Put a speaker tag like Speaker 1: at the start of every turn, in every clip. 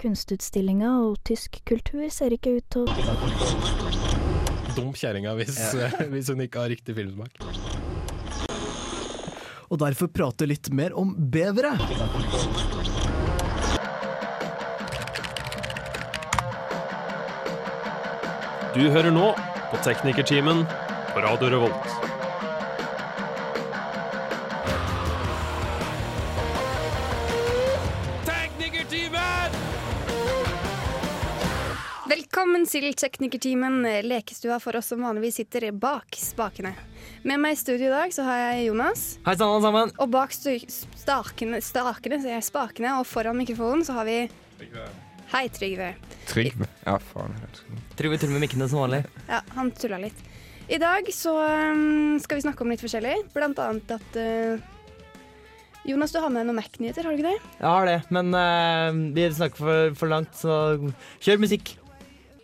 Speaker 1: kunstutstillinga, og tysk kultur ser ikke ut til å
Speaker 2: Dum kjerringa hvis, hvis hun ikke har riktig filmsmak.
Speaker 3: og derfor prate litt mer om bevere.
Speaker 4: Du hører nå på Teknikertimen på Radio Revolt. Teknikertimen!
Speaker 5: Velkommen til Teknikertimen, lekestua for oss som vanligvis sitter bak spakene. Med meg i studio i dag så har jeg Jonas,
Speaker 6: Hei sann, alle sammen.
Speaker 5: og bak stu- stakene, stakene sier jeg, spakene, og foran mikrofonen så har vi Hei, Trygve.
Speaker 7: Trygve. Ja, faen. jeg husker ikke.
Speaker 6: Trygve tuller med mikkene som vanlig.
Speaker 5: Ja, han tulla litt. I dag så um, skal vi snakke om litt forskjellig, blant annet at eh, Jonas, du har med noen Mac-nyheter, har du ikke det?
Speaker 6: Jeg har det, men eh, vi snakker for, for langt, så kjør musikk.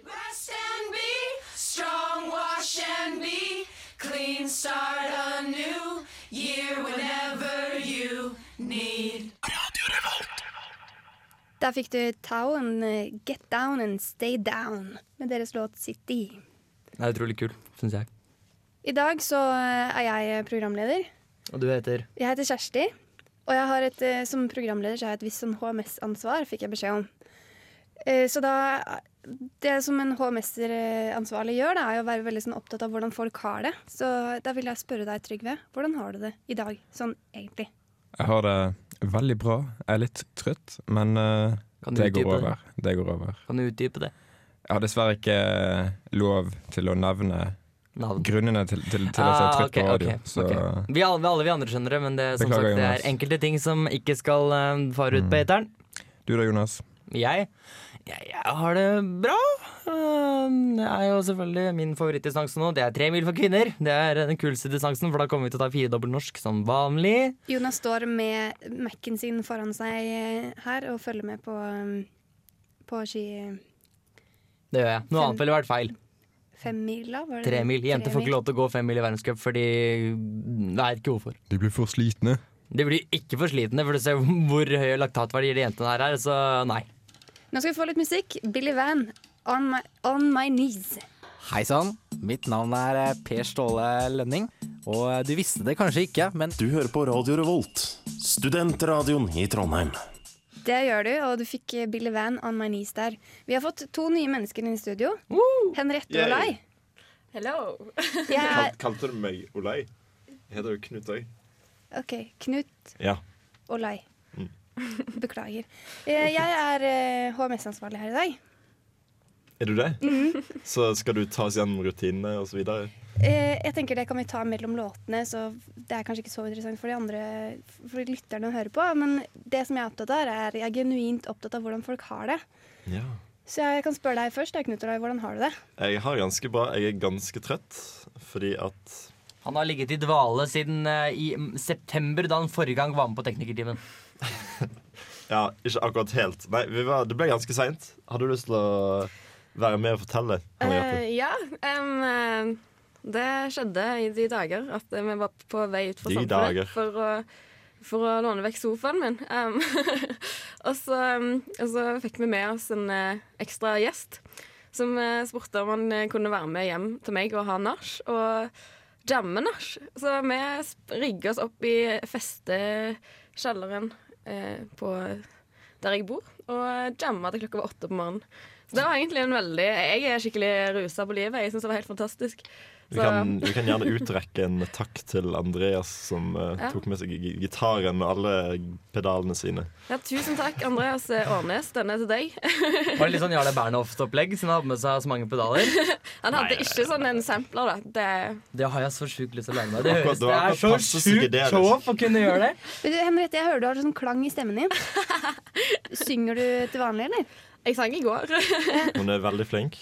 Speaker 8: Rest and be strong, wash and be clean, start a new year whenever you need.
Speaker 5: Der fikk du Tao and eh, Get Down and Stay Down med deres låt City.
Speaker 6: Det er utrolig kul, syns jeg.
Speaker 5: I dag så eh, er jeg programleder.
Speaker 6: Og du heter
Speaker 5: Jeg heter Kjersti, og jeg har et, eh, som programleder så har jeg et visst sånn HMS-ansvar, fikk jeg beskjed om. Eh, Så da Det som en HMS-ansvarlig gjør, da, er jo å være veldig sånn opptatt av hvordan folk har det. Så da vil jeg spørre deg, Trygve, hvordan har du det i dag, sånn egentlig?
Speaker 7: Jeg har det veldig bra. Jeg er litt trøtt, men eh,
Speaker 6: Kan du
Speaker 7: det går
Speaker 6: utdype det?
Speaker 7: over. Det går over.
Speaker 6: Kan du utdype det?
Speaker 7: Jeg har dessverre ikke lov til å nevne
Speaker 6: Navn.
Speaker 7: grunnene til, til, til at jeg er
Speaker 6: Ah,
Speaker 7: trøtt
Speaker 6: ok,
Speaker 7: på radio.
Speaker 6: ok,
Speaker 7: Så
Speaker 6: ok. Vi, alle, alle vi andre skjønner det, men det, som
Speaker 7: Beklager,
Speaker 6: sagt, det
Speaker 7: Jonas. Mm.
Speaker 6: er enkelte ting som ikke skal eh, fare ut på eteren.
Speaker 7: du da, Jonas.
Speaker 6: Jeg, jeg, jeg har det bra. Eh, Det er jo selvfølgelig min favorittdistanse nå. Det er tre mil for kvinner. Det er den kuleste distansen, for da kommer vi til å ta firedobbel norsk som vanlig.
Speaker 5: Jonas står med Mac-en sin foran seg eh, her og følger med på, um, på ski
Speaker 6: Det gjør jeg. Noe
Speaker 5: Fem-
Speaker 6: annet ville vært feil.
Speaker 5: femmila, var det?
Speaker 6: Mm, Tre mil. Jenter får ikke lov til å gå fem mil i verdenscup fordi Jeg vet ikke hvorfor.
Speaker 7: De blir for slitne.
Speaker 6: Det blir ikke for slitende, for du ser hvor høye laktatverdier de jentene her er, så nei.
Speaker 5: Nå skal vi få litt musikk. Billy Van, On My, on my Knees.
Speaker 9: Hei sann, mitt navn er eh, Per Ståle Lønning. Og eh, du visste det kanskje ikke, men
Speaker 10: Du hører på Radio Revolt, studentradioen i Trondheim.
Speaker 5: Det gjør du, og du fikk eh, Billy Van on my knees der. Vi har fått to nye mennesker inn i studio. Henriette og Olai.
Speaker 8: Hello.
Speaker 5: Jeg er
Speaker 11: Kalte du meg Olai? Jeg heter jo Knut òg.
Speaker 5: OK. Knut
Speaker 11: Ja. Mm.
Speaker 5: Olai. Beklager. Eh, Jeg er eh, HMS-ansvarlig her i dag. Mm-hmm.
Speaker 11: Er du det? Så skal du ta oss gjennom rutinene osv.?
Speaker 5: Eh, Jeg tenker Det kan vi ta mellom låtene, så det er kanskje ikke så interessant for de andre For de lytterne å høre på. Men det som jeg er opptatt av, er jeg er genuint opptatt av hvordan folk har det.
Speaker 11: Ja.
Speaker 5: Så jeg kan spørre deg først, da, Knut Olai, hvordan har du det?
Speaker 11: Jeg har ganske bra. Jeg er ganske trøtt fordi at
Speaker 6: Han har ligget i dvale siden eh, i mm, september, da han forrige gang var med på Teknikertimen.
Speaker 11: Ja, ikke akkurat helt. Nei, vi var, det ble ganske seint. Hadde du lyst til å være med og fortelle?
Speaker 5: Eh,
Speaker 11: Henriette?
Speaker 8: ja, em, eh, det skjedde i de dager at vi var på vei ut for
Speaker 11: De dager.
Speaker 8: samfunnet for å, for å låne vekk sofaen min. Em, og, så, em, og så fikk vi med oss en eh, ekstra gjest som eh, spurte om han eh, kunne være med hjem til meg og ha nach. Og jamme nach. Så vi sp- rigget oss opp i festekjelleren eh, på der jeg bor, og jamma til klokka var åtte på morgenen. Så det var egentlig en veldig Jeg er skikkelig rusa på livet. Jeg syns det var helt fantastisk.
Speaker 11: Vi
Speaker 8: Så
Speaker 11: kan, vi kan gjerne utrekke en takk til Andreas, som eh,
Speaker 8: Ja.
Speaker 11: tok med seg gi- gitaren og alle pedalene sine.
Speaker 8: ja, tusen takk, Andreas Årnes. Denne er til deg.
Speaker 6: Var det litt sånn Jarle Bernhoft-opplegg, som hadde med seg så mange pedaler?
Speaker 8: Han hadde ikke sånn en sampler, da. Det,
Speaker 6: Det har jeg så sjukt lyst til å lære meg. Det,
Speaker 11: Akkurat,
Speaker 6: høres,
Speaker 11: det
Speaker 6: det
Speaker 11: var
Speaker 6: er
Speaker 11: akkurat
Speaker 6: så
Speaker 11: passe
Speaker 6: sjukt
Speaker 11: psykedelisk.
Speaker 6: show-off å kunne gjøre det.
Speaker 5: Men du, Henriette, jeg hører du har sånn klang i stemmen din. Synger du til vanlig, eller?
Speaker 8: jeg sang i går.
Speaker 11: Hun er veldig flink.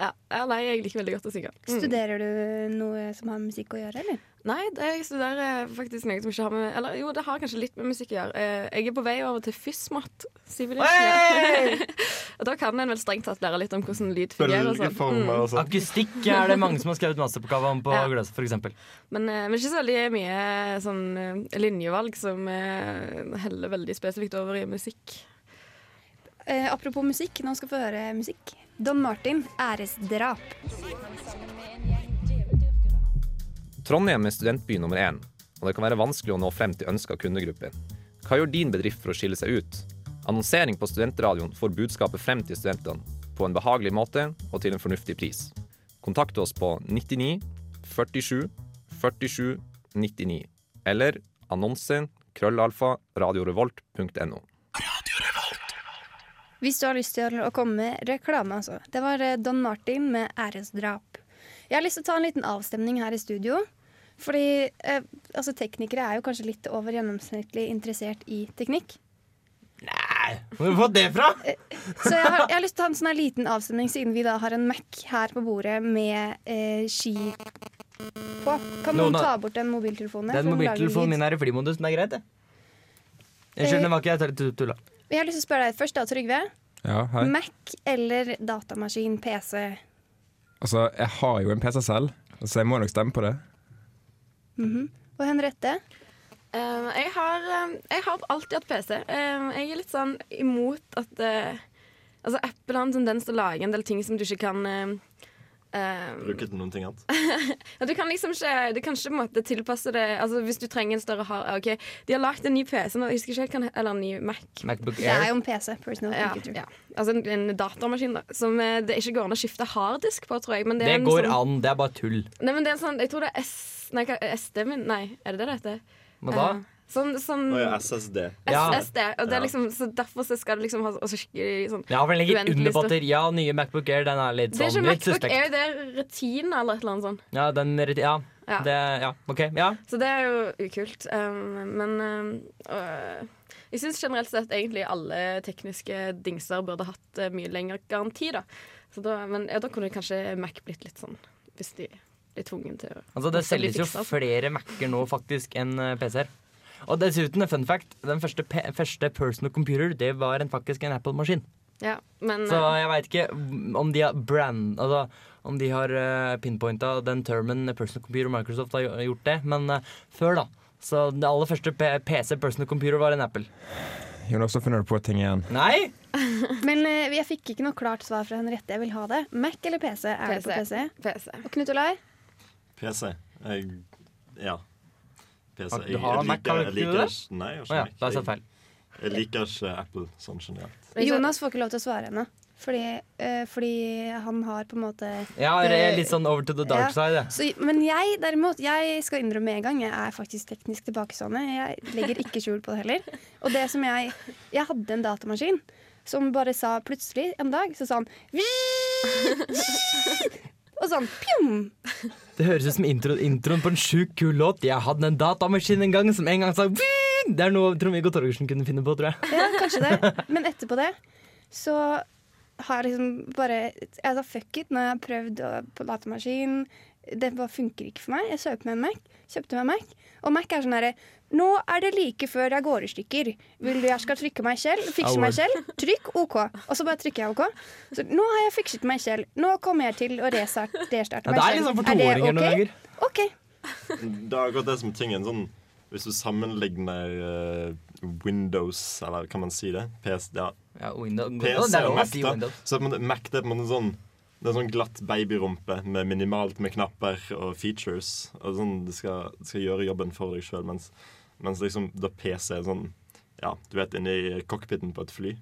Speaker 8: Ja, ja, nei, jeg liker veldig godt å synge. Mm.
Speaker 5: Studerer du noe som har med musikk å gjøre, eller?
Speaker 8: Nei, det- jeg studerer faktisk noe som ikke har med Eller jo, det har kanskje litt med musikk å gjøre. Eh, Jeg er på vei over til fysmat. Sivilingeniør. og da kan en vel strengt tatt lære litt om hvordan lyd fungerer og sånn. Mm.
Speaker 11: Bølgeformer og sånn.
Speaker 6: Akustikk er det mange som har skrevet masteroppgave om på
Speaker 8: Ja.
Speaker 6: Gløs, for eksempel.
Speaker 8: Men, eh, men ikke så veldig mye eh, sånn eh, linjevalg som eh, heller veldig spesifikt over i musikk.
Speaker 5: eh, apropos musikk, nå skal vi få høre musikk. Don Martin, 'Æresdrap'.
Speaker 12: Trondheim er studentby nummer én, og det kan være vanskelig å nå frem til ønska kundegrupper. Hva gjør din bedrift for å skille seg ut? Annonsering på studentradioen får budskapet frem til studentene på en behagelig måte og til en fornuftig pris. Kontakt oss på 99 47 47 99 eller annonse krøllalfa radiorevolt.no.
Speaker 5: Hvis du har lyst til å komme med reklame, altså. Det var eh, Don Martin med 'Æresdrap'. Jeg har lyst til å ta en liten avstemning her i studio. Fordi eh, altså, teknikere er jo kanskje litt over gjennomsnittlig interessert i teknikk.
Speaker 6: Hvor har du fått det fra?
Speaker 5: Så jeg har, jeg har lyst til å ta en sånn her liten avstemning, siden vi da har en Mac her på bordet med eh, ski på. Kan
Speaker 6: Noen
Speaker 5: noen
Speaker 6: har-
Speaker 5: ta bort den mobiltelefonen? her,
Speaker 6: Den
Speaker 5: for den lager
Speaker 6: mobiltelefonen
Speaker 5: lyd?
Speaker 6: min er i flymodus, men det er greit, det.
Speaker 8: Eh,
Speaker 6: Unnskyld, den var ikke jeg tull- tulla.
Speaker 5: Jeg har lyst til å spørre deg først, da, Trygve.
Speaker 7: Ja, hei.
Speaker 5: Mac eller datamaskin, PC?
Speaker 7: Altså, jeg har jo en PC selv, så jeg må nok stemme på det.
Speaker 5: Mhm. Og Henriette?
Speaker 8: Eh, jeg, har, eh, jeg har alltid hatt PC. Eh, jeg er litt sånn imot at eh, Altså, Apple har en tendens til å lage en del ting som du ikke kan eh, eh,
Speaker 11: Bruker til noen ting annet.
Speaker 8: Ja, du kan liksom ikke Du kan ikke på en måte tilpasse det Altså Hvis du trenger en større hard Ok, de har lagd en ny PC nå, jeg husker ikke helt hva den he- Eller en ny Mac.
Speaker 6: Macbook
Speaker 5: Det er
Speaker 6: Air.
Speaker 5: jo en PC. Personal
Speaker 8: Ja,
Speaker 5: computer.
Speaker 8: ja. Altså en, en datamaskin da som eh, det ikke går an å skifte harddisk på, tror jeg. Men det,
Speaker 6: Det
Speaker 8: er en
Speaker 6: går
Speaker 8: sånn,
Speaker 6: an, det er bare tull.
Speaker 8: Nei, men det er en sånn Jeg tror det er S... Nei, hva- SD min Nei, er det det det heter?
Speaker 6: Hva da?
Speaker 8: Eh, Sånn, sånn
Speaker 11: Nå er jeg SSD.
Speaker 8: SSD. Og det er liksom, så derfor så skal det liksom ha så skikkelig sånn
Speaker 6: Ja, for den ligger
Speaker 8: uendelig
Speaker 6: under
Speaker 8: stor-
Speaker 6: batteri. Ja, nye Macbook Air, den er litt
Speaker 8: Det er ikke
Speaker 6: sånn litt
Speaker 8: Macbook, er
Speaker 6: suspekt.
Speaker 8: jo det Retina eller et eller annet sånt.
Speaker 6: Ja, den Ja,
Speaker 8: Ja.
Speaker 6: det Ja, OK. Ja.
Speaker 8: Så det er jo ukult. Um, men um, øh, jeg syns generelt sett egentlig alle tekniske dingser burde hatt eh, mye lengre garanti, da. Så da men ja, da kunne kanskje Mac blitt litt sånn, hvis de blir tvungen til å
Speaker 6: Altså, det
Speaker 8: forskjellig
Speaker 6: selges jo
Speaker 8: fikse alt.
Speaker 6: flere Mac-er nå faktisk enn eh, PC-er. Og dessuten, en fun fact, den første, pe første personal computer, det var en, faktisk en Apple-maskin.
Speaker 8: Ja, men
Speaker 6: Så
Speaker 8: eh,
Speaker 6: jeg veit ikke om de har brand Altså om de har uh, pinpointa den termen personal computer Microsoft har gjo- gjort det, men eh, før, da. Så det aller første P PC personal computer var en Apple.
Speaker 7: Jonas, så finner du på ting igjen.
Speaker 6: Nei!
Speaker 5: Men eh, jeg fikk ikke noe klart svar fra Henriette. Jeg vil ha det. Mac eller PC? Er det på
Speaker 8: PC.
Speaker 6: eh,
Speaker 5: PC?
Speaker 8: PC.
Speaker 5: Og Knut Olai?
Speaker 11: PC. Jeg, ja. PC.
Speaker 6: Har- du
Speaker 11: Jeg, jeg
Speaker 6: har
Speaker 11: liker,
Speaker 6: Mac, har du
Speaker 11: jeg
Speaker 6: ikke du
Speaker 11: liker
Speaker 6: det?
Speaker 11: ikke Nei, jeg
Speaker 6: Å ja,
Speaker 11: har
Speaker 6: da er
Speaker 11: ikke
Speaker 6: det feil.
Speaker 11: Jeg, jeg liker ikke Apple sånn generelt.
Speaker 5: Jonas får ikke lov til å svare ennå. Fordi, eh, fordi han har på en måte
Speaker 6: Ja, det er litt sånn over to the dark
Speaker 5: Ja.
Speaker 6: side. det.
Speaker 5: Så, men jeg derimot, jeg skal innrømme med en gang, jeg er faktisk teknisk tilbakestående. Jeg legger ikke skjul på det heller. Og det som jeg Jeg hadde en datamaskin som bare sa plutselig en dag, så sa han Og sånn pjom!
Speaker 6: Det høres ut som intro, introen på en sjukt kul låt. Jeg hadde en datamaskin en gang som en gang sa «Vii!» Det er noe Trond-Viggo Torgersen kunne finne på, tror jeg.
Speaker 5: Ja, kanskje det. Men etterpå det så har jeg liksom bare Jeg sa fuck it, nå har jeg prøvd å- på datamaskin. Det bare funker ikke for meg. Jeg kjøpte meg en Mac. Kjøpte meg en Mac. Og Mac er sånn herre Nå er det like før jeg går i stykker. Vil du jeg skal trykke meg selv? Fikse
Speaker 13: Au.
Speaker 5: meg selv? Trykk OK. Og så bare trykker jeg OK. Så nå har jeg fikset meg selv. Nå kommer jeg til å restart- restarte
Speaker 11: Ja, det er
Speaker 5: meg selv.
Speaker 6: sånn
Speaker 11: liksom for
Speaker 5: det
Speaker 11: toåringer noen
Speaker 5: ok?
Speaker 11: ganger.
Speaker 5: OK.
Speaker 11: Det er akkurat det som er tingen. Sånn, hvis du sammenligner eh, Windows, eller kan man si det? PC, ja.
Speaker 6: Windows.
Speaker 11: PC
Speaker 6: Det er
Speaker 11: og
Speaker 6: lov å
Speaker 11: Mac,
Speaker 6: si
Speaker 11: da.
Speaker 6: Windows.
Speaker 11: Så men Mac det er på en måte sånn det er sånn glatt babyrumpe med minimalt med knapper og features. Og sånn, det skal, det skal gjøre jobben for deg sjøl, mens, mens liksom, da PC er sånn Ja, du vet, inni cockpiten på et fly.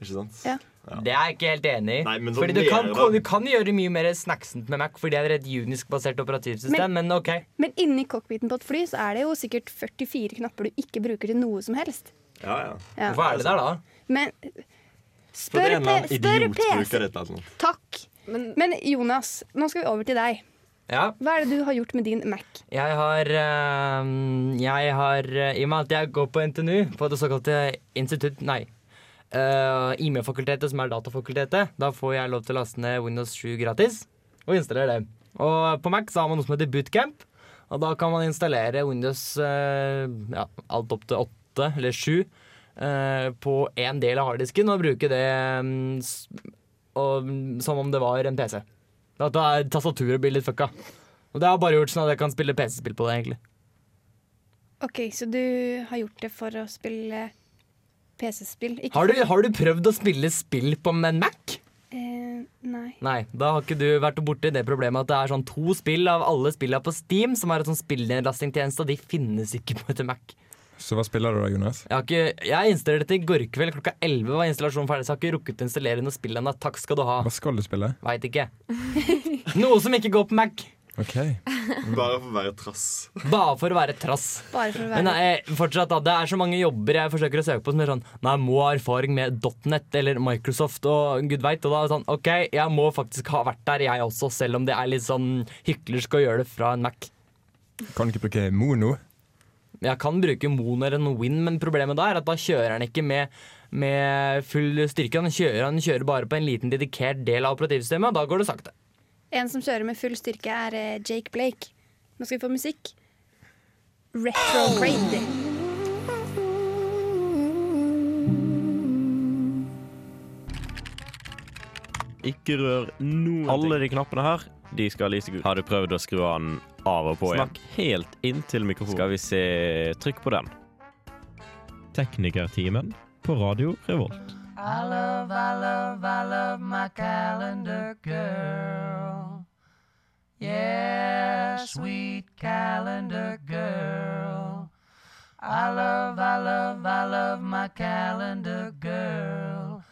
Speaker 11: Ikke sant? Ja.
Speaker 6: Det er jeg ikke helt enig i.
Speaker 11: Nei, men sånn
Speaker 6: Fordi du kan,
Speaker 11: mer, da.
Speaker 6: du kan gjøre mye mer snacksent med Mac, fordi det er et unisk-basert operativsystem, men, OK.
Speaker 5: Men inni cockpiten på et fly så er det jo sikkert 44 knapper du ikke bruker til noe som helst.
Speaker 11: Ja, ja.
Speaker 5: Ja.
Speaker 6: Hvorfor er det der, da?
Speaker 5: Men
Speaker 11: For det er
Speaker 5: spør,
Speaker 11: en eller
Speaker 5: P-
Speaker 11: annen
Speaker 5: spør
Speaker 11: idiot
Speaker 5: PC.
Speaker 11: bruker altså. et eller annet. sånt.
Speaker 5: Takk. Men, Jonas, nå skal vi over til deg.
Speaker 6: Ja.
Speaker 5: Hva er det du har gjort med din Mac?
Speaker 6: Jeg har, eh, jeg har eh, I og med at jeg går på NTNU, på det såkalte institutt Nei. eh, IME-fakultetet, som er datafakultetet, da får jeg lov til å laste ned Windows 7 gratis. Og installere det. Og på Mac så har man noe som heter bootcamp. Og da kan man installere Windows eh, ja, alt opp til 8 eller 7 eh, på én del av harddisken og bruke det mm, s- og, som om det var en PC. At da er tastaturet blir litt fucka. Og det har bare gjort sånn at jeg kan spille PC-spill på det, egentlig.
Speaker 5: Ok, Så du har gjort det for å spille PC-spill. Ikke
Speaker 6: Har du,
Speaker 5: fordi-
Speaker 6: har du prøvd å spille spill på en Mac?
Speaker 5: Eh, nei.
Speaker 6: Nei, da har ikke du vært borti det problemet at det er sånn to spill av alle spillene på Steam som har en sånn spillnedlastingtjeneste, og de finnes ikke på et Mac.
Speaker 7: Så hva spiller du da, Jonas?
Speaker 6: Jeg har ikke, jeg installerte dette i går kveld klokka 11 var installasjonen ferdig, så jeg har ikke rukket å installere noe spill ennå. Takk skal du ha.
Speaker 7: Hva skal du spille?
Speaker 6: Veit ikke. Noe som ikke går på Mac.
Speaker 7: Ok.
Speaker 11: Bare for å være trass.
Speaker 6: Bare for å være trass.
Speaker 5: Bare for å være
Speaker 6: Men nei, fortsatt da, Det er så mange jobber jeg forsøker å søke på som er sånn Nei, jeg må ha erfaring med .net eller Microsoft og gud veit. Og da er det sånn OK, jeg må faktisk ha vært der, jeg også, selv om det er litt sånn hyklersk å gjøre det fra en Mac.
Speaker 7: Kan du ikke bruke mono?
Speaker 6: Jeg kan bruke Mono eller en Win, men problemet da er at da kjører han ikke med, med full styrke. Han kjører, han kjører bare på en liten dedikert del av operativsystemet, og da går det sakte.
Speaker 5: En som kjører med full styrke, er eh, Jake Blake. Nå skal vi få musikk. Retrograde.
Speaker 13: Ikke rør noen Alle de knappene her, de skal lyse gult. Har du prøvd å skru den av og på igjen? Snakk helt inntil mikrofonen. Skal vi se Trykk på den.
Speaker 4: Teknikertimen på Radio Revolt.
Speaker 14: I love, I love, I love my calendar girl. Yeah, sweet calendar girl. I love, I love, I love my calendar girl.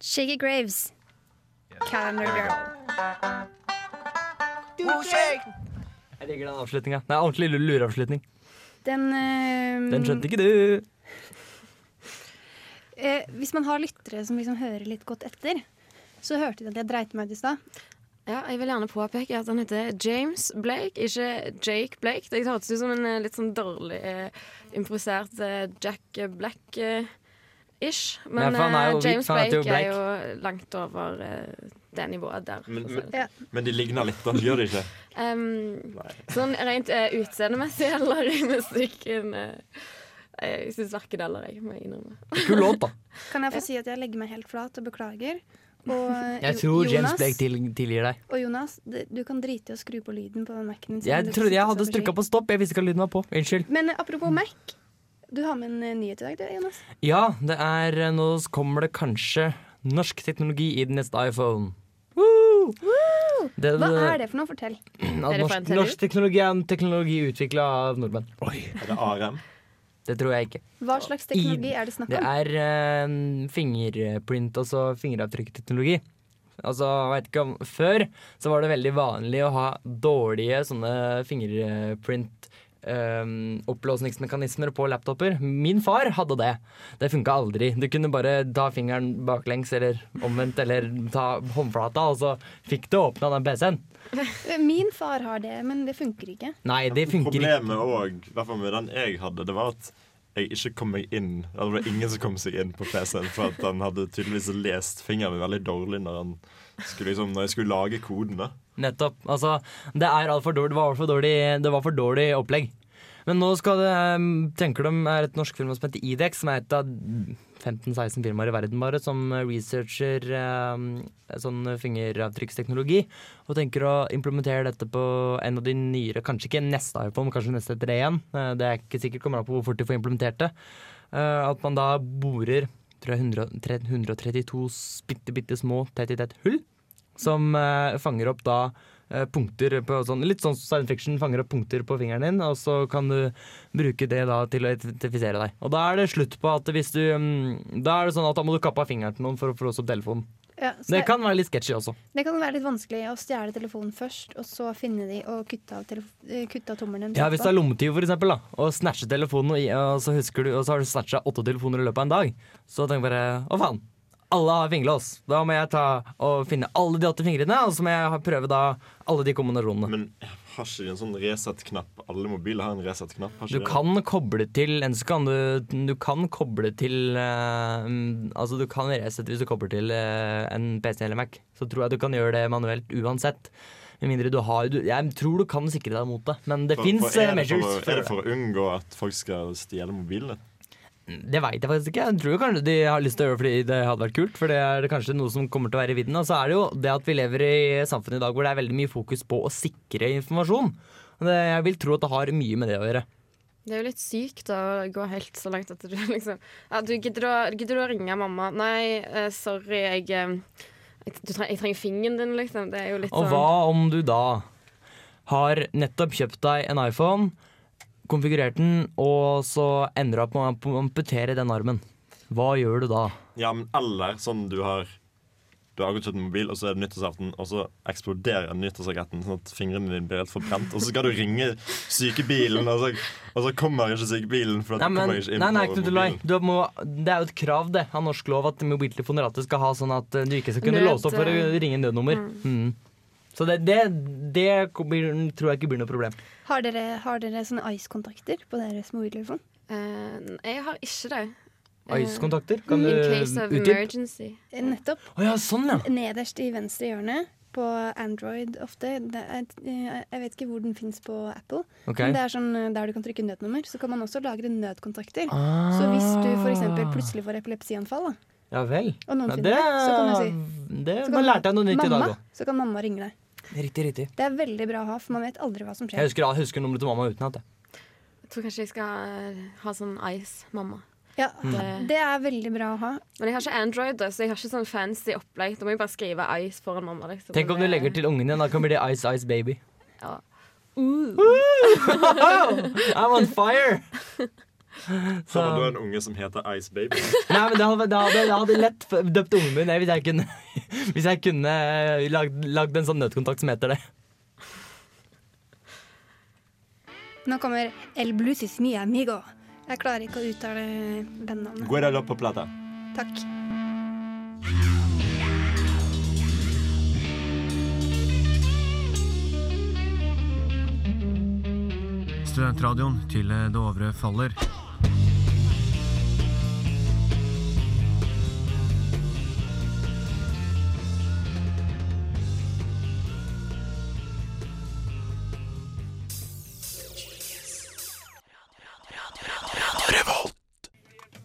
Speaker 5: Shaggy Graves. Calendar Girl.
Speaker 6: Jeg liker den avslutninga. Det er ordentlig lureavslutning.
Speaker 5: Den, eh,
Speaker 6: Den skjønte ikke du.
Speaker 5: Eh, hvis man har lyttere som liksom hører litt godt etter, så hørte de at jeg dreit meg ut i stad.
Speaker 8: Ja, jeg vil gjerne påpeke at han heter James Blake, ikke Jake Blake. Det hørtes ut som en eh, litt sånn dårlig eh, improvisert eh, Jack Black-ish.
Speaker 6: Ja,
Speaker 8: Men
Speaker 6: for han er jo
Speaker 8: eh,
Speaker 6: hvit,
Speaker 8: James
Speaker 6: for han heter
Speaker 8: Blake,
Speaker 6: jo
Speaker 8: er jo langt over eh, det nivået der.
Speaker 11: Men,
Speaker 8: for å si det
Speaker 11: men, men de ligner litt, da. Gjør de ikke?
Speaker 8: Um, sånn rent eh, utseendemessig eller i musikken eh, Jeg syns verken eller, jeg må jeg innrømme.
Speaker 6: Kul låt, da.
Speaker 5: Kan jeg få si at jeg legger meg helt flat og beklager? Og eh,
Speaker 6: Jeg
Speaker 5: Jo-
Speaker 6: tror James Blake til, tilgir deg.
Speaker 5: Og Jonas, det- du kan drite i å skru på lyden på Mac-en din. siden
Speaker 6: Jeg
Speaker 5: du
Speaker 6: trodde jeg
Speaker 5: sitter
Speaker 6: hadde
Speaker 5: så
Speaker 6: trykka
Speaker 5: forsiktig.
Speaker 6: på stopp. Jeg visste ikke at lyden var på. Mm. Unnskyld.
Speaker 5: Men eh, apropos Mac, du har med en eh, nyhet i dag, du, Jonas.
Speaker 6: Ja, det er eh, Nå kommer det kanskje norsk teknologi i den neste iPhone. Det-
Speaker 5: Hva
Speaker 6: eh,
Speaker 5: er det for noe? Fortell.
Speaker 6: At norsk, norsk teknologi er en teknologi utvikla av nordmenn.
Speaker 11: Er det ARM?
Speaker 6: Det tror jeg ikke.
Speaker 5: Hva slags teknologi er det snakk om?
Speaker 6: Det er eh, fingerprint, altså fingeravtrykkteknologi. Altså, jeg vet ikke om, Før så var det veldig vanlig å ha dårlige sånne fingerprint eh, opplåsningsmekanismer på laptoper. Min far hadde det. Det funka aldri. Du kunne bare ta fingeren baklengs eller omvendt, eller ta håndflata, og så fikk du åpna den PC-en.
Speaker 5: Eh, Min far har det, men det funker ikke.
Speaker 6: Nei, Eh, det funker ikke.
Speaker 11: Problemet òg, i hvert fall med den jeg hadde, det var at jeg ikke kom meg inn. Det var ingen som kom seg inn på PC-en, for at han hadde tydeligvis lest fingeren min veldig dårlig når, han skulle, liksom, når jeg skulle lage kodene.
Speaker 6: Nettopp. Altså, det er alt for dårlig. Det var alt for dårlig, det var for dårlig opplegg. Men nå skal det, eh, tenker de er et norsk firma som heter Idex, som er et av 15-16 firmaer i verden bare, som researcher eh, sånn fingeravtrykksteknologi. Og tenker å implementere dette på en av de nyere, kanskje ikke neste iPhone, men kanskje neste etter det igjen. Eh, Det er ikke sikkert kommer an på hvor fort de får implementert det. Eh, At man da borer tror jeg, 100 132 bitte, bitte små tett i tett hull som eh, fanger opp da eh, punkter på sånn Litt sånn som science fiction fanger opp punkter på fingeren din, og så kan du bruke det da til å identifisere deg. Og da er det slutt på at hvis du mm, Da er det sånn at da må du kappe av fingeren til noen for å få låst opp telefonen.
Speaker 5: Ja, så
Speaker 6: Det kan være litt sketchy også.
Speaker 5: det kan være litt vanskelig å stjele telefonen først, og så finne de og kutte av, telef- eh, kutte av tommelen deres
Speaker 6: Ja, Hvis det er
Speaker 5: etterpå.
Speaker 6: lommetyv, for eksempel, da, og snatcher telefonen, og, i- og så husker du, og så har du snatcha åtte telefoner i løpet av en dag, så tenker du bare å faen, alle har fingerlås. Da må jeg ta og finne alle de åtte fingrene, og så må jeg ha- prøve da alle de kombinasjonene.
Speaker 11: Har ikke de en sånn reset-knapp? Alle mobiler har en reset-knapp. har ikke
Speaker 6: Du
Speaker 11: de?
Speaker 6: kan koble til enten så kan du, du kan koble til eh, mm, Altså du kan resette hvis du kobler til eh, en PC eller Mac. Så tror jeg du kan gjøre det manuelt uansett. Med mindre du har du, Jeg tror du kan sikre deg mot det, men det
Speaker 11: For-
Speaker 6: fins
Speaker 11: for er det for å-
Speaker 6: measures.
Speaker 11: Er det for å unngå at folk skal stjele mobilene?
Speaker 6: Det veit jeg faktisk ikke. Jeg tror kanskje de har lyst til å gjøre det fordi det hadde vært kult. For det er kanskje noe som kommer til å være i vidden. Og så er det jo det at vi lever i samfunnet i dag hvor det er veldig mye fokus på å sikre informasjon. Og Det, jeg vil tro at det har mye med det å gjøre.
Speaker 8: Det er jo litt sykt da, å gå helt så langt at du liksom ja, du gidder, å, gidder du å ringe mamma? Nei, eh, sorry, jeg, eh, jeg, du treng, jeg trenger fingeren din, liksom. Det er jo litt
Speaker 6: Og
Speaker 8: sånn
Speaker 6: hva om du da har nettopp kjøpt deg en iPhone, konfigurert den, og så ender du opp med å amputere den armen? Hva gjør du da?
Speaker 11: Ja, men eller sånn du har Du har akkurat kjøpt en mobil, og så er det nyttårsaften, og så eksploderer nyttårsraketten, sånn at fingrene dine blir helt forbrent, og så skal du ringe sykebilen, og så, og så kommer ikke sykebilen, for at
Speaker 6: Nei,
Speaker 11: du
Speaker 6: men,
Speaker 11: kommer ikke
Speaker 6: nei,
Speaker 11: inn
Speaker 6: nei,
Speaker 11: på
Speaker 6: Knut Olai,
Speaker 11: mobilen.
Speaker 6: du må, det er jo et krav det, av norsk lov at mobiltelefoner alltid skal ha sånn at eh, du ikke skal kunne
Speaker 8: Nød,
Speaker 6: låse opp for å
Speaker 8: eh,
Speaker 6: ringe nødnummer. Mm. Så det, det, det blir, tror jeg ikke blir noe problem.
Speaker 5: Har dere, har dere sånne ice-kontakter på deres mobiltelefon?
Speaker 8: eh, jeg har ikke det. Eh,
Speaker 6: Ice-kontakter? Kan du
Speaker 8: In case of
Speaker 6: utdype?
Speaker 8: emergency.
Speaker 5: Eh, Nettopp.
Speaker 6: Å ja, sånn, ja.
Speaker 5: Nederst i venstre hjørne på Android ofte. Det er, eh, jeg vet ikke hvor den fins på Apple.
Speaker 6: Ok.
Speaker 5: Men det er sånn eh, der du kan trykke nødnummer. Så kan man også lagre nødkontakter.
Speaker 6: Ah.
Speaker 5: Så hvis du f.eks. plutselig får epilepsianfall, da,
Speaker 6: Ja vel.
Speaker 5: og noen
Speaker 6: Nei,
Speaker 5: finner
Speaker 6: det,
Speaker 5: deg, så kan du si
Speaker 6: det,
Speaker 5: så kan
Speaker 6: Man lærte jeg noe nytt i dag
Speaker 5: mamma,
Speaker 6: òg.
Speaker 5: Så kan mamma ringe deg.
Speaker 6: Riktig, riktig.
Speaker 5: Det er veldig bra å ha, for man vet aldri hva som skjer.
Speaker 6: Jeg husker, jeg husker nummeret til mamma utenat. jeg.
Speaker 8: Jeg tror kanskje jeg skal ha sånn ice, mamma.
Speaker 5: Ja,
Speaker 8: Mm.
Speaker 5: Det er veldig bra å ha.
Speaker 8: Men jeg har ikke Android, da, så jeg har ikke sånn fancy opplegg. Da må jeg bare skrive ice foran mamma. Liksom.
Speaker 6: Tenk om du legger til ungen igjen, da kan det bli Ice Ice Baby.
Speaker 8: Ja.
Speaker 6: I'm on fire!
Speaker 11: Så har du en unge som heter Ice Baby.
Speaker 6: Nei, men det hadde, det hadde, det hadde lett f- døpt ungen min jeg, hvis jeg kunne, hvis jeg kunne lagd, lagd en sånn nødkontakt som heter det.
Speaker 5: Nå kommer El Blues is mi amigo. Jeg klarer ikke å uttale bandnavnet.
Speaker 11: Guerrero på plata.
Speaker 5: Takk.
Speaker 15: Studentradioen til Dovre faller.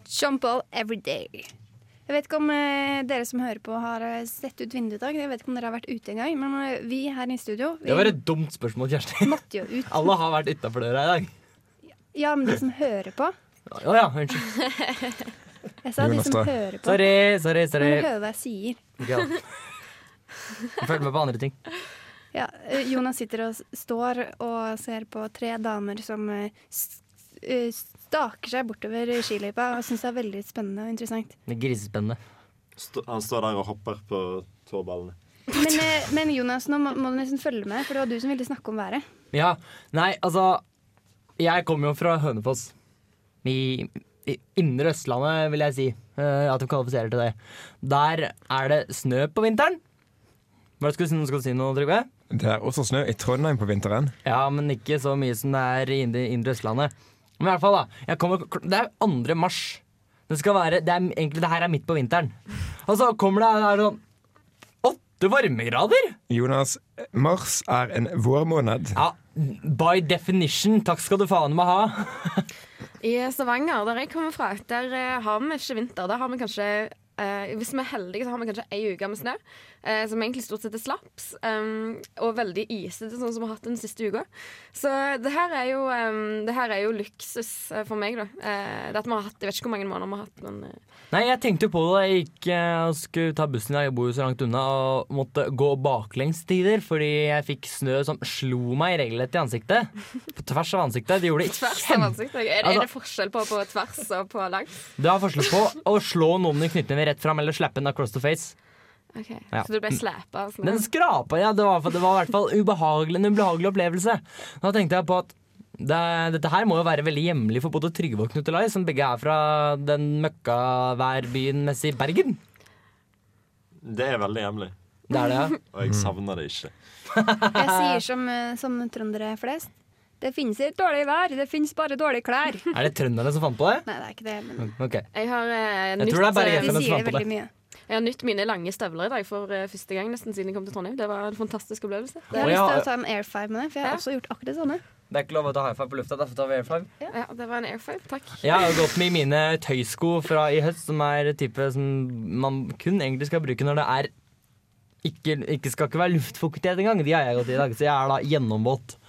Speaker 5: Jean-Paul Everyday. Jeg vet ikke om eh, dere som hører på har eh, sett ut vinduet i dag. Jeg vet ikke om dere har vært ute engang, men eh, vi her i studio vi
Speaker 6: Det var et dumt spørsmål, Kjersti.
Speaker 5: måtte jo ut.
Speaker 6: Alle har vært utafor døra i dag.
Speaker 5: Ja, men de som hører på
Speaker 6: Å ja, unnskyld.
Speaker 5: Jeg sa de
Speaker 6: Jonas,
Speaker 5: som
Speaker 6: da.
Speaker 5: hører på.
Speaker 6: Sorry, sorry, sorry.
Speaker 5: Men hører hva jeg sier.
Speaker 6: Ja. Følg med på andre ting.
Speaker 5: Ja, eh, Jonas sitter og s- står og ser på tre damer som eh, s- eh, staker seg bortover skiløypa og syns det er veldig spennende og interessant.
Speaker 6: Det er grisespennende.
Speaker 11: Stå- Han står der og hopper på tåballene.
Speaker 5: Men, eh, men Jonas, nå må, må du nesten følge med, for det var du som ville snakke om været.
Speaker 6: Ja, nei, altså Jeg kommer jo fra Hønefoss. I, i indre Østlandet, vil jeg si. eh, at de kvalifiserer til det. Der er det snø på vinteren. Hva skal du si, nå? skal du si noe, Trygve?
Speaker 7: Det er også snø i Trondheim på vinteren.
Speaker 6: Ja, men ikke så mye som det er i indre, indre Østlandet. Men i hvert fall, da. Jeg kommer, det er 2. mars. Det skal være det er, Egentlig, det her er midt på vinteren. Og så kommer det her sånn åtte varmegrader!
Speaker 7: Jonas, mars er en vårmåned.
Speaker 6: Ja, by definition. Takk skal du faen meg ha.
Speaker 8: I Stavanger, der jeg kommer fra, der eh, har vi ikke vinter. Der har vi kanskje eh, hvis vi er heldige, så har vi kanskje ei uke med snø, eh, som egentlig stort sett er slaps. em, og veldig isete, sånn som vi har hatt den siste uka. Så det her er jo, em, det her er jo luksus eh, for meg, da. Eh, det at vi har hatt, Jeg vet ikke hvor mange måneder vi har hatt, men eh,
Speaker 6: Nei, jeg tenkte jo på det da jeg gikk eh, og skulle ta bussen. Jeg bor jo så langt unna og måtte gå baklengs tider fordi jeg fikk snø som slo meg regelrett i ansiktet. På tvers av ansiktet. Det gjorde
Speaker 8: tvers
Speaker 6: kjempe...
Speaker 8: av ansiktet. Er, er
Speaker 6: Altså-
Speaker 8: det forskjell på på tvers og på langs?
Speaker 6: Det var forskjell på å slå noen i knyttneven rett fram eller slappe en across the face.
Speaker 8: Ok,
Speaker 6: Ja.
Speaker 8: Så du ble slæpa? av snø?
Speaker 6: Den skrapa, ja. Det var, det var i hvert fall ubehagelig, en ubehagelig opplevelse. Da tenkte jeg på at det, dette her må jo være veldig hjemlig for både Trygve og Knut Olai, som begge er fra den møkkaværbyen messig Bergen.
Speaker 11: Det er veldig hjemlig.
Speaker 6: Det er det, ja.
Speaker 11: Og jeg savner det ikke.
Speaker 5: Jeg sier som, eh, som trøndere flest. Det finnes ikke dårlig vær, det finnes bare dårlige klær.
Speaker 6: Er det trønderne som fant på det?
Speaker 5: Nei, det er ikke det. Men
Speaker 6: Ok.
Speaker 8: Jeg har eh,
Speaker 6: Jeg
Speaker 8: nytt,
Speaker 6: tror det er bare
Speaker 8: eh,
Speaker 6: FN som fant på det.
Speaker 8: Jeg har nytt mine lange støvler i dag for eh, første gang nesten siden jeg kom til Trondheim. Det var en fantastisk opplevelse.
Speaker 5: Jeg har lyst til å ta en airfive med det, for jeg har også gjort akkurat det samme.
Speaker 6: Det er ikke lov å ta high five på lufta. Derfor tar vi air five.
Speaker 8: Ja, det var en air five. Takk.
Speaker 6: Jeg har gått med i mine tøysko fra i høst, som er type som man kun egentlig skal bruke når det er Ikke, ikke skal ikke være luftfuktighet engang. De har jeg gått i i dag, så jeg er da gjennomvåt.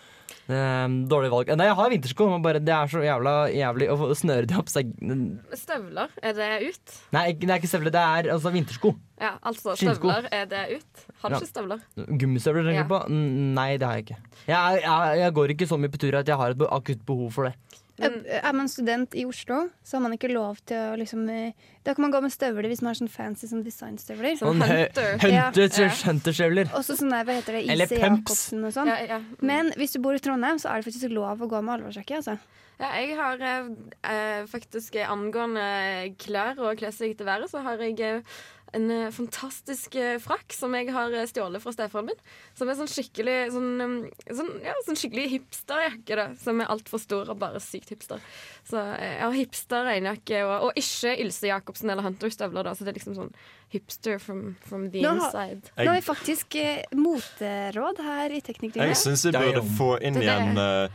Speaker 6: Ehm, dårlig valg. Nei, jeg har vintersko, men bare det er så jævla jævlig å få- å snøre de opp. Så jeg, nei,
Speaker 8: Støvler, er det ut?
Speaker 6: ikke- det er ikke støvler, det er altså vintersko.
Speaker 8: Ja, altså
Speaker 6: Skinnsko.
Speaker 8: støvler, er det ut? Har du
Speaker 6: Ja.
Speaker 8: ikke støvler?
Speaker 6: Gummistøvler tenker
Speaker 8: Ja.
Speaker 6: jeg på? Mm, Nei, det har jeg ikke. Jeg, er- jeg, jeg går ikke så mye på tur at jeg har et be- akutt behov for det.
Speaker 5: eh, Er er man student i Oslo, så har man ikke lov til å liksom eh, Da kan man gå med støvler hvis man har sånn fancy sånn designstøvler.
Speaker 6: Sånn hø- hunter- hunterstøvler.
Speaker 5: Og så sånn der, hva heter det,
Speaker 6: Eller
Speaker 5: IC
Speaker 6: pumps.
Speaker 5: Jacobsen og sånn.
Speaker 8: Ja, ja.
Speaker 5: Men hvis du bor i Trondheim, så er det faktisk lov å gå med alvorsjakke, altså.
Speaker 8: Ja, jeg har eh, eh, faktisk eh, angående klær og klesplagg til været, så har jeg eh, en eh, fantastisk eh, frakk som jeg har eh, stjålet fra stefaren min. Som er sånn skikkelig sånn, eh, sånn, ja, sånn skikkelig hipsterjakke, da. Som er altfor stor og bare sykt hipster. Så eh, jeg har hipster regnjakke og, og ikke Ylse Jacobsen eller Hunter-støvler, da. Så det er liksom sånn hipster from, from the
Speaker 5: Nå har,
Speaker 8: inside.
Speaker 5: nå har vi faktisk eh, moteråd her i Teknikklinja.
Speaker 11: Jeg syns vi burde få inn
Speaker 5: Det- det-
Speaker 11: igjen uh,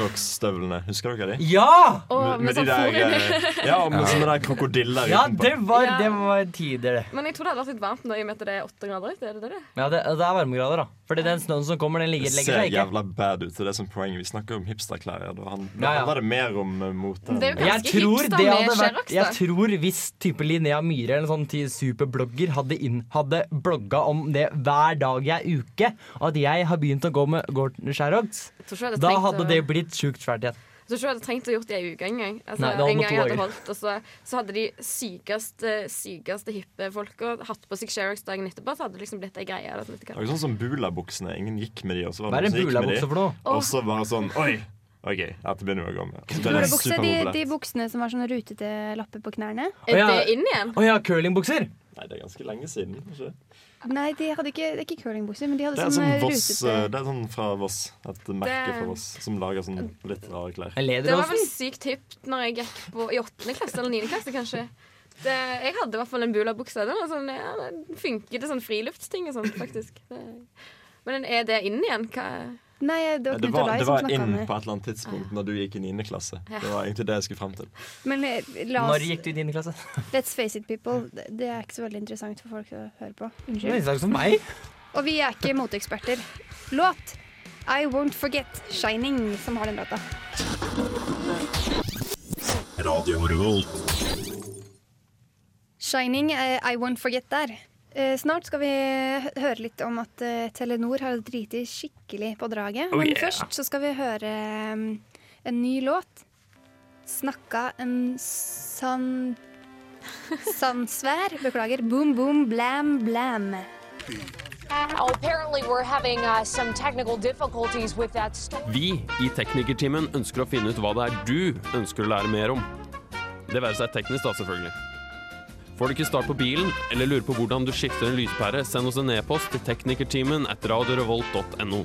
Speaker 11: Sherrox-støvlene. Husker dere de?
Speaker 6: Ja!
Speaker 8: Å, med sånn
Speaker 11: der,
Speaker 8: forhud.
Speaker 11: eh, ja, og med
Speaker 6: Ja.
Speaker 11: sånne der krokodiller
Speaker 6: Ja,
Speaker 11: utenpå.
Speaker 6: det var,
Speaker 8: Ja.
Speaker 6: det var tider, det.
Speaker 8: Men jeg tror det hadde vært litt varmt nå i og med at det er åtte grader ute. Er det det det?
Speaker 6: Ja, det, det er varmegrader, da. Fordi den snøen som kommer, den
Speaker 11: Det
Speaker 6: ligger, legger
Speaker 11: ser
Speaker 6: seg ikke.
Speaker 11: jævla bad ut. Det er det som er poenget. Vi snakker om hipsterklær. Ja. da. Han,
Speaker 6: Ja, ja.
Speaker 11: han var det mer om eh, mote.
Speaker 8: Det er jo
Speaker 6: Jeg
Speaker 8: ganske
Speaker 6: tror,
Speaker 8: hipster
Speaker 6: det
Speaker 8: med
Speaker 6: hadde vært,
Speaker 8: Xerox, da.
Speaker 6: jeg tror hvis type Linnea Myhre eller en sånn ti- superblogger hadde, inn, hadde blogga om det hver dag i ei uke, og at jeg har begynt å gå med Gorton Sherrogs,
Speaker 8: tror ikke jeg hadde eh,
Speaker 6: da
Speaker 8: tenkt
Speaker 6: hadde
Speaker 8: å-
Speaker 6: det blitt sjukt svært igjen.
Speaker 8: Jeg tror ikke jeg hadde trengt å gjort det i en uke engang. Altså,
Speaker 6: Nei, det hadde
Speaker 8: en
Speaker 6: måttet
Speaker 8: gang jeg hadde
Speaker 6: være.
Speaker 8: holdt, og så, så hadde de sykeste, sykeste hippe folka hatt på seg Sherox dagen etterpå, så hadde det liksom blitt ei greie. eller sånn
Speaker 11: Det er jo sånn som bulabuksene. Ingen gikk med de, og så var
Speaker 6: Hva er
Speaker 11: det noen som
Speaker 6: en
Speaker 11: gikk med de.
Speaker 6: bulabukse for noe?
Speaker 11: Og så bare sånn Oi! OK, dette begynner vi å gå med. Og så ble det
Speaker 5: Bukse, de,
Speaker 11: superpopulært.
Speaker 5: de buksene som har sånne rutete lapper på knærne.
Speaker 6: Er Å, ja. det
Speaker 8: inn igjen?
Speaker 6: Å ja, curlingbukser!
Speaker 11: Nei, det er ganske lenge siden. Ikke?
Speaker 8: Sånn
Speaker 5: Nei, de hadde ikke, det er ikke curlingbukser, men de hadde
Speaker 11: Det er
Speaker 5: sånn
Speaker 11: sånn
Speaker 5: eh,
Speaker 11: Voss
Speaker 5: rutete
Speaker 11: eh, Det er sånn fra Voss. Et merke
Speaker 8: Det-
Speaker 11: fra Voss som lager sånn litt rare klær.
Speaker 8: Det var vel sykt hipt når jeg gikk på, i åttende klasse eller niende klasse, kanskje. Det, jeg hadde i hvert fall en bulabukse. Den var sånn, ja, den funker til sånn friluftsting og sånn, faktisk. Det, men er det inn igjen? Hva
Speaker 5: Nei, det var
Speaker 11: Det
Speaker 5: Knut
Speaker 11: var,
Speaker 5: Olai
Speaker 11: det
Speaker 5: som
Speaker 11: var
Speaker 5: snakka
Speaker 11: inn
Speaker 5: om
Speaker 11: på
Speaker 5: det.
Speaker 11: et eller annet tidspunkt når du gikk i 9. klasse.
Speaker 5: Ja.
Speaker 11: Det var egentlig det jeg skulle frem til.
Speaker 5: Men eh, la
Speaker 6: Når
Speaker 5: oss,
Speaker 6: gikk du i din klasse?
Speaker 5: let's face it, people. Det, det er ikke så veldig interessant for folk å høre på.
Speaker 6: Det er ikke som meg.
Speaker 5: Og vi er ikke moteeksperter. Låt I Won't Forget Shining, som har den låta.
Speaker 10: Radio Revolt.
Speaker 5: Shining, eh, I Won't Forget der. Eh, snart skal vi hø- høre litt om at eh, Telenor har driti skikkelig på draget.
Speaker 8: Oh,
Speaker 5: Men
Speaker 8: yeah.
Speaker 5: først så skal vi høre mm, en ny låt. Snakka en sann Sandsvær. Beklager. Boom, boom, blam, blam.
Speaker 16: Well, apparently, we're having uh, some technical difficulties with that story.
Speaker 4: Vi i Teknikertimen ønsker å finne ut hva det er du ønsker å lære mer om. Det være seg teknisk, da, selvfølgelig. Får du ikke start på bilen, eller lurer på hvordan du skifter en lyspære, send oss en e-post til teknikertimen at radiorevolt.no.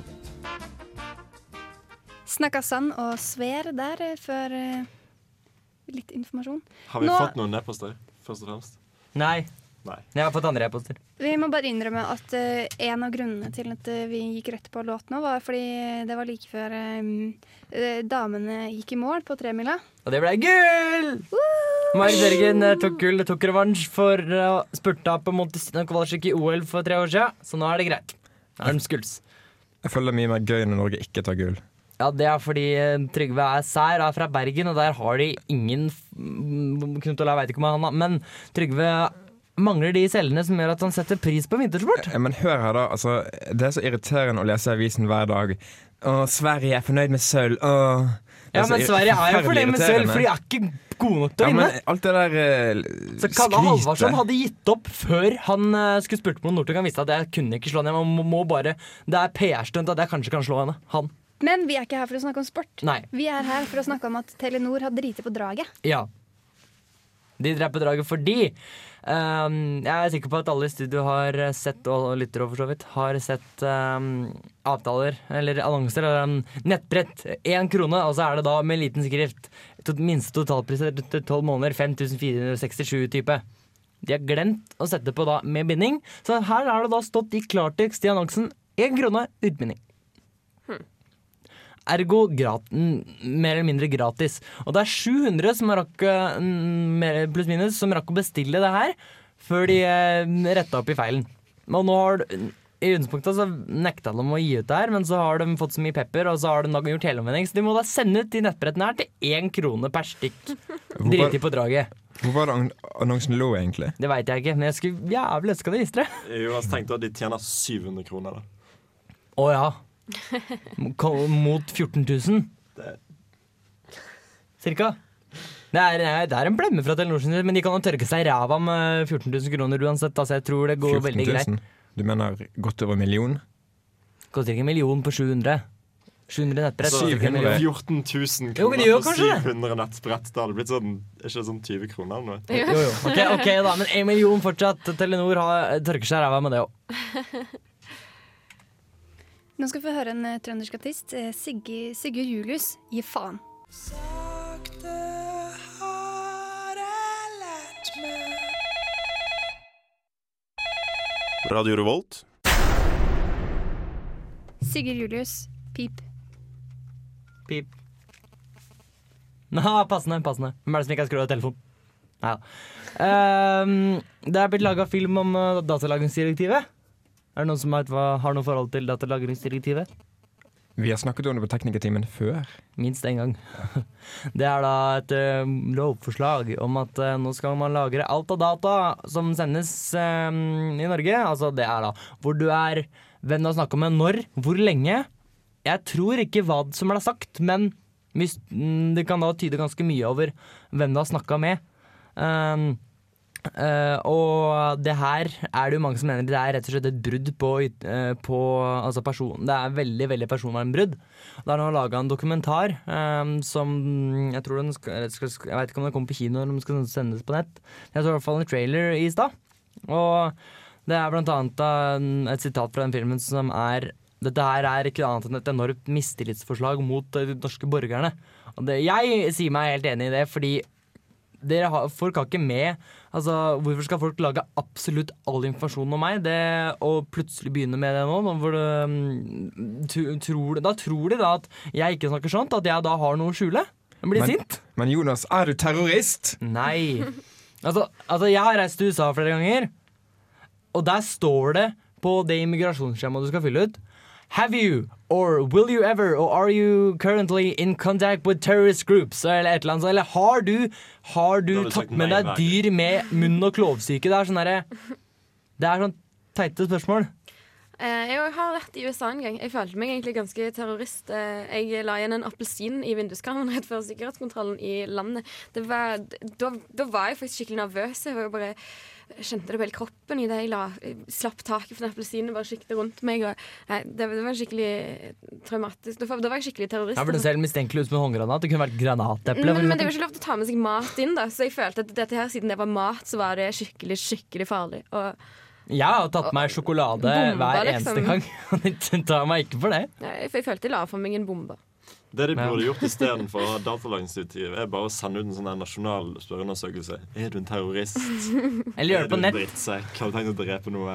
Speaker 5: Snakka sann og svær der eh, for eh, litt informasjon.
Speaker 11: Har vi
Speaker 5: Nå-
Speaker 11: fått noen e-poster, først og fremst?
Speaker 6: Nei.
Speaker 11: Nei.
Speaker 6: Jeg har fått andre e-poster.
Speaker 5: Vi må bare innrømme at eh, en av grunnene til at eh, vi gikk rett på låt nå, var fordi det var like før eh, eh, damene gikk i mål på tremila.
Speaker 6: Og det ble gull! Mari Bjørgen eh, tok gull og tok revansj for eh, å spurta på Montestina Kowalczyk i OL for tre år siden, så nå er det greit. Nå er de skulds.
Speaker 7: Jeg føler det er mye mer gøy når Norge ikke tar gull.
Speaker 6: Ja, det er fordi eh, Trygve er sær, er fra Bergen, og der har de ingen f- mm, Knut Olav veit ikke om han har Men Trygve mangler de cellene som gjør at han setter pris på vintersport.
Speaker 7: Eh, Men hør her, da. Altså, det er så irriterende å lese avisen hver dag. Å, Sverige er fornøyd med sølv. Å. Det
Speaker 6: Ja,
Speaker 7: så
Speaker 6: men
Speaker 7: ir-
Speaker 6: Sverige er jo
Speaker 7: forferdelig
Speaker 6: fornøyd med sølv,
Speaker 7: irriterende.
Speaker 6: for de er ikke gode nok til å
Speaker 7: Ja,
Speaker 6: vinne.
Speaker 7: men alt det der eh,
Speaker 6: Så Kalle Halvorsen hadde gitt opp før han eh, skulle spurt på noe Northug. Han visste at jeg kunne ikke slå henne. Man må, må bare, det er PR-stunt at jeg kanskje kan slå henne. Han.
Speaker 5: Men vi er ikke her for å snakke om sport.
Speaker 6: Nei.
Speaker 5: Vi er her for å snakke om at Telenor har driti på draget.
Speaker 6: Ja. De dreper draget fordi ehm, Jeg er sikker på at alle i studio har sett, og lytter over for så vidt, har sett ehm, avtaler eller annonser. Eller, ehm, nettbrett. Én krone, og så er det da med liten skrift. Tot- Minste totalpris etter tolv måneder. 5467 type. De har glemt å sette på da med binding, så her har det da stått i klartekst i annonsen én krone uten binding. Ergo grat, n- mer eller mindre gratis. Og det er 700 som rakk, eh, n- mer- pluss minus, som rakk å bestille det her før de eh, retta opp i feilen. Og nå har du- i utgangspunktet så nekta de å gi ut det her, men så har de fått så mye pepper, og så har de da gjort helomvending, så de må da sende ut de nettbrettene her til én krone per stykk.
Speaker 7: var-
Speaker 6: Driti på draget.
Speaker 7: Hvor var det an- annonsen lå, egentlig?
Speaker 6: Det veit jeg ikke, men jeg skulle jævlig ønske det visste det.
Speaker 11: Jo, altså, tenk da, de tjener 700 kroner, da.
Speaker 6: Å ja. Ko- Mot 14 000. Cirka. Det er, det er en blemme fra Telenor, sin side, men de kan jo tørke seg i ræva med 14 000 kroner uansett. Altså, jeg tror det går
Speaker 7: 14
Speaker 6: veldig
Speaker 7: 000?
Speaker 6: greit.
Speaker 7: Du mener godt over en million?
Speaker 6: Koster ikke en million på 700. 700 nettbrett.
Speaker 11: Så
Speaker 6: koster ikke en
Speaker 11: 14
Speaker 6: million.
Speaker 11: 000
Speaker 6: Jo,
Speaker 11: kroner
Speaker 6: men det gjør
Speaker 11: for
Speaker 6: kanskje det.
Speaker 11: 700 nettbrett. Det hadde blitt sånn, er ikke det sånn 20 kroner eller noe?
Speaker 6: Jo, jo. Ok, ok da, men en million fortsatt. Telenor har, eh, tørker seg i ræva med det òg.
Speaker 5: Nå skal vi få høre en eh, trøndersk artist. eh, Siggi- Sigurd Julius. Gi faen.
Speaker 10: Radio Revolt.
Speaker 5: Sigurd Julius. Pip.
Speaker 6: Pip. Nå, passende, passende. Hvem er det som ikke har skrudd av telefonen? Nei da. Ehm, det er blitt laga film om eh, datalagringsdirektivet. Er det noen som vet hva, har noe forhold til datalagringsdirektivet?
Speaker 7: Vi har snakket om det på teknikertimen før.
Speaker 6: Minst én gang. Det er da et eh, lovforslag om at eh, nå skal man lagre alt av data som sendes eh, i Norge. Altså det er da hvor du er, hvem du har snakka med, når, hvor lenge. Jeg tror ikke hva som ble sagt, men hvis, mm, det kan da tyde ganske mye over hvem du har snakka med. Ehm, eh, og det her er det jo mange som mener det er rett og slett et brudd på, yt- eh, på altså person, Det er veldig veldig personvernbrudd. Det er nå laga en dokumentar ehm, som Jeg tror den skal, eller skal, skal- jeg vet ikke om den kommer på kino eller om den skal sendes på nett. Jeg så i hvert fall en trailer i stad. Og det er blant annet eh, et sitat fra den filmen som er Dette her er ikke annet enn et enormt mistillitsforslag mot eh, de norske borgerne. Og det, jeg sier meg helt enig i det, fordi dere har, folk har ikke med Altså, Hvorfor skal folk lage absolutt all informasjon om meg? Det Å plutselig begynne med det nå, nå hvor det, mm, tu- tror, Da tror de da at jeg ikke snakker sånt, at jeg da har noe å skjule. Jeg blir
Speaker 7: Men-
Speaker 6: sint.
Speaker 7: Men Jonas, er du terrorist?
Speaker 6: Nei. Altså, altså, jeg har reist til USA flere ganger, og der står det på det immigrasjonsskjemaet du skal fylle ut Have you, or will you ever, or are you currently in contact with terrorist groups? Eller et eller annet sånt. Eller har du, har du
Speaker 11: du
Speaker 6: tatt
Speaker 11: sagt
Speaker 6: med
Speaker 11: nei
Speaker 6: deg
Speaker 11: hver
Speaker 6: dyr med munn- og klovsyke? Det er sånn derre Det er sånn teite spørsmål.
Speaker 8: Eh, Jeg har vært i USA en gang. Jeg følte meg egentlig ganske terrorist. Eh, Jeg la igjen en appelsin i vinduskarmen rett før sikkerhetskontrollen i landet. Det var, da, da var jeg faktisk skikkelig nervøs. Jeg var jo bare kjente det på hele kroppen idet jeg la, slapp taket på den appelsinen og bare siktet rundt meg. Og, nei, det, det var skikkelig traumatisk. Da, da var jeg skikkelig terrorist. Mm,
Speaker 6: Jeg burde se helt mistenkelig ut som en håndgranat. Det kunne vært granateple.
Speaker 8: Men,
Speaker 6: for
Speaker 8: men det er jo
Speaker 6: eksempel.
Speaker 8: ikke lov til å ta med seg mat inn, da. Så jeg følte at dette her, siden det var mat, så var det skikkelig, skikkelig farlig. Og
Speaker 6: Jeg har tatt meg sjokolade
Speaker 8: Bomba,
Speaker 6: hver eneste
Speaker 8: liksom.
Speaker 6: gang. De tar meg ikke for det.
Speaker 8: nei, jeg, jeg følte jeg la for meg en bombe.
Speaker 11: Det de
Speaker 6: Men-
Speaker 11: burde gjort istedenfor å ha datalagringsutgiv, er bare å sende ut en sånn her nasjonal spørreundersøkelse. Er du en terrorist?
Speaker 6: Eller gjør det
Speaker 11: Er du
Speaker 6: på
Speaker 11: en
Speaker 6: nett.
Speaker 11: drittsekk? Har du tenkt å drepe noe?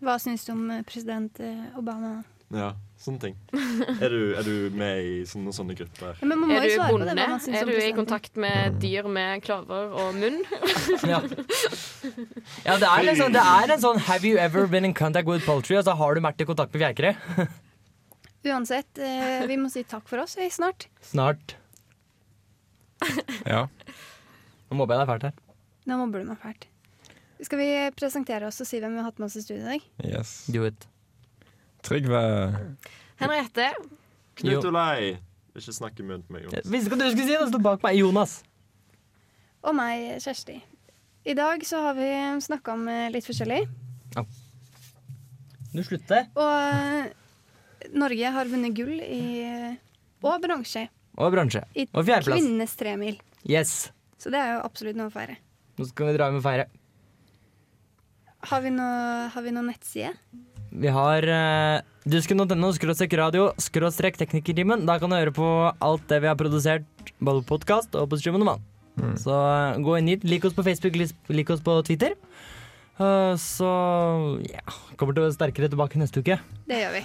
Speaker 5: Hva syns du om eh, president eh, Obama?
Speaker 11: Ja, sånne ting. Er du, er du med i sånne, sånne grupper?
Speaker 5: Ja, men man må
Speaker 8: Er
Speaker 5: jo
Speaker 8: du
Speaker 5: svare på det,
Speaker 8: bonde?
Speaker 5: hva man syns
Speaker 8: Er
Speaker 5: om
Speaker 8: du i
Speaker 5: presidenten.
Speaker 8: kontakt med dyr med klover og munn?
Speaker 6: Ja. Ja, det er, liksom, det er en sånn 'have you ever been in contact with poultry'? Altså, har du vært i kontakt med fjærkre?
Speaker 5: Uansett, eh, vi må si takk for oss vi, snart.
Speaker 6: Snart.
Speaker 7: Ja.
Speaker 6: Nå mobber jeg deg fælt her.
Speaker 5: Nå mobber du meg fælt. Skal vi presentere oss og si hvem vi har hatt med oss i studio i dag?
Speaker 7: Yes.
Speaker 6: Do it.
Speaker 7: Trygve
Speaker 8: Henriette.
Speaker 11: Knut Olai! Ikke snakk i munnen på meg, Jonas.
Speaker 6: Visste ikke hva du skulle si, det sto bak meg. Jonas.
Speaker 5: Og meg, Kjersti. I dag så har vi snakka om eh, litt forskjellig.
Speaker 6: Du slutter.
Speaker 5: Og eh, Norge har vunnet gull i eh, og bronse
Speaker 6: Og bransje.
Speaker 5: i
Speaker 6: Og fjerdeplass.
Speaker 5: kvinnenes tremil.
Speaker 6: Yes.
Speaker 5: Så det er jo absolutt noe å feire.
Speaker 6: Nå skal vi dra hjem og feire.
Speaker 5: Har vi noe, har vi noe nettside?
Speaker 6: Vi har uh, dusken.no skråstrek radio skråstrek teknikertimen. Da kan du høre på alt det vi har produsert, både på podkast og på streamen. mann. Så eh, gå inn hit. Lik oss på Facebook, lis- lik oss på Twitter. Eh, så ja Kommer til å være sterkere tilbake neste uke.
Speaker 5: Det gjør vi.